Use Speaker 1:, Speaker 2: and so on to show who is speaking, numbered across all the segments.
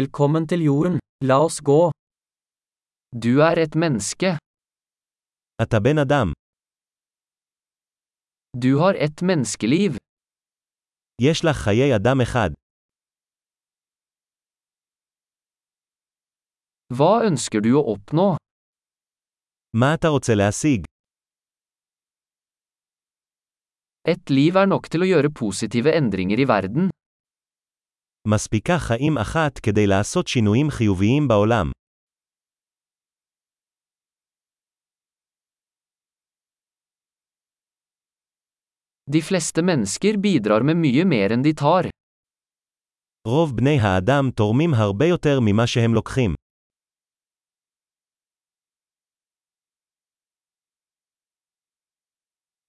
Speaker 1: Velkommen til jorden, la oss gå. Du er et menneske,
Speaker 2: אתה בן אדם.
Speaker 1: du har ett menneskeliv.
Speaker 2: יש לך חיי אדם אחד.
Speaker 1: Hva ønsker du å oppnå?
Speaker 2: מה אתה רוצה להשיג?
Speaker 1: Et liv er nok til å gjøre positive endringer i verden.
Speaker 2: מספיקה חיים אחת כדי לעשות שינויים חיוביים בעולם.
Speaker 1: De fleste mennesker bidrar med mye mer enn de tar.
Speaker 2: רוב בני האדם תורמים הרבה יותר ממה שהם לוקחים.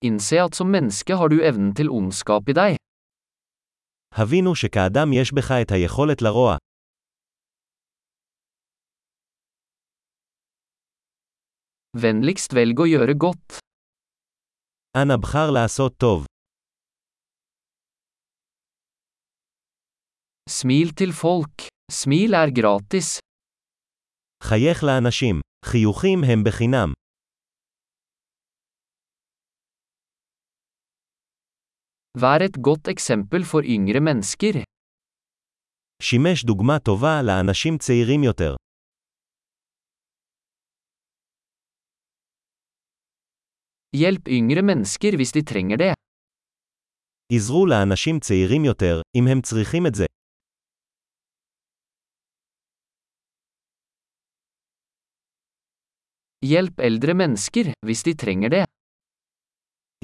Speaker 1: Innse at som menneske har du evnen til ondskap i deg.
Speaker 2: הבינו שכאדם יש בך את היכולת לרוע.
Speaker 1: Vennligst velg å gjøre godt.
Speaker 2: אנא בחר לעשות טוב.
Speaker 1: Smil til folk. Smil er gratis.
Speaker 2: חייך לאנשים. חיוכים הם בחינם.
Speaker 1: Vær et godt eksempel for yngre mennesker.
Speaker 2: שימש דוגמה טובה לאנשים צעירים יותר.
Speaker 1: Hjelp yngre mennesker hvis de trenger det.
Speaker 2: עזרו לאנשים צעירים יותר, אם הם צריכים את זה.
Speaker 1: Hjelp eldre mennesker hvis de trenger det.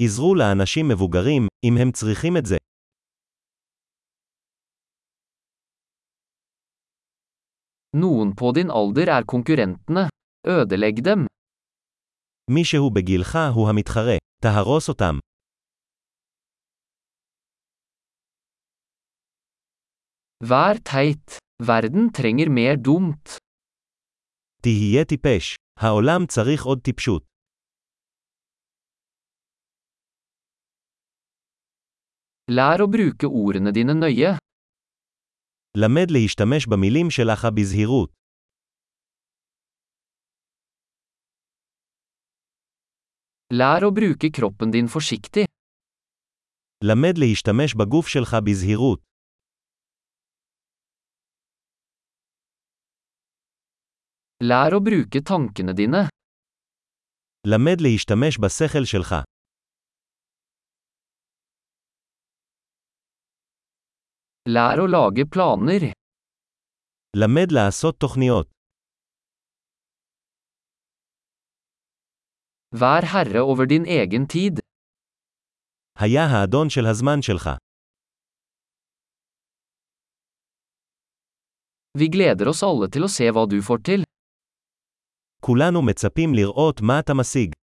Speaker 2: עזרו לאנשים מבוגרים, אם הם צריכים את זה.
Speaker 1: Noen på din alder er konkurrentene. Ødelegg dem.
Speaker 2: מישהו בגילך הוא המתחרה. תהרוס אותם.
Speaker 1: Vær teit. Verden trenger mer dumt.
Speaker 2: תהיה טיפש. העולם צריך עוד טיפשות.
Speaker 1: Lær å bruke ordene dine nøye.
Speaker 2: למד להשתמש במילים שלך בזהירות.
Speaker 1: Lær å bruke kroppen din forsiktig.
Speaker 2: למד להשתמש בגוף שלך בזהירות.
Speaker 1: Lær å bruke tankene dine.
Speaker 2: למד להשתמש בשכל שלך.
Speaker 1: Lær å lage planer.
Speaker 2: למד לעשות תוכניות.
Speaker 1: Vær herre over din egen tid.
Speaker 2: היה האדון של הזמן שלך.
Speaker 1: Vi gleder oss alle til å se hva du får til.
Speaker 2: כולנו מצפים לראות מה אתה משיג.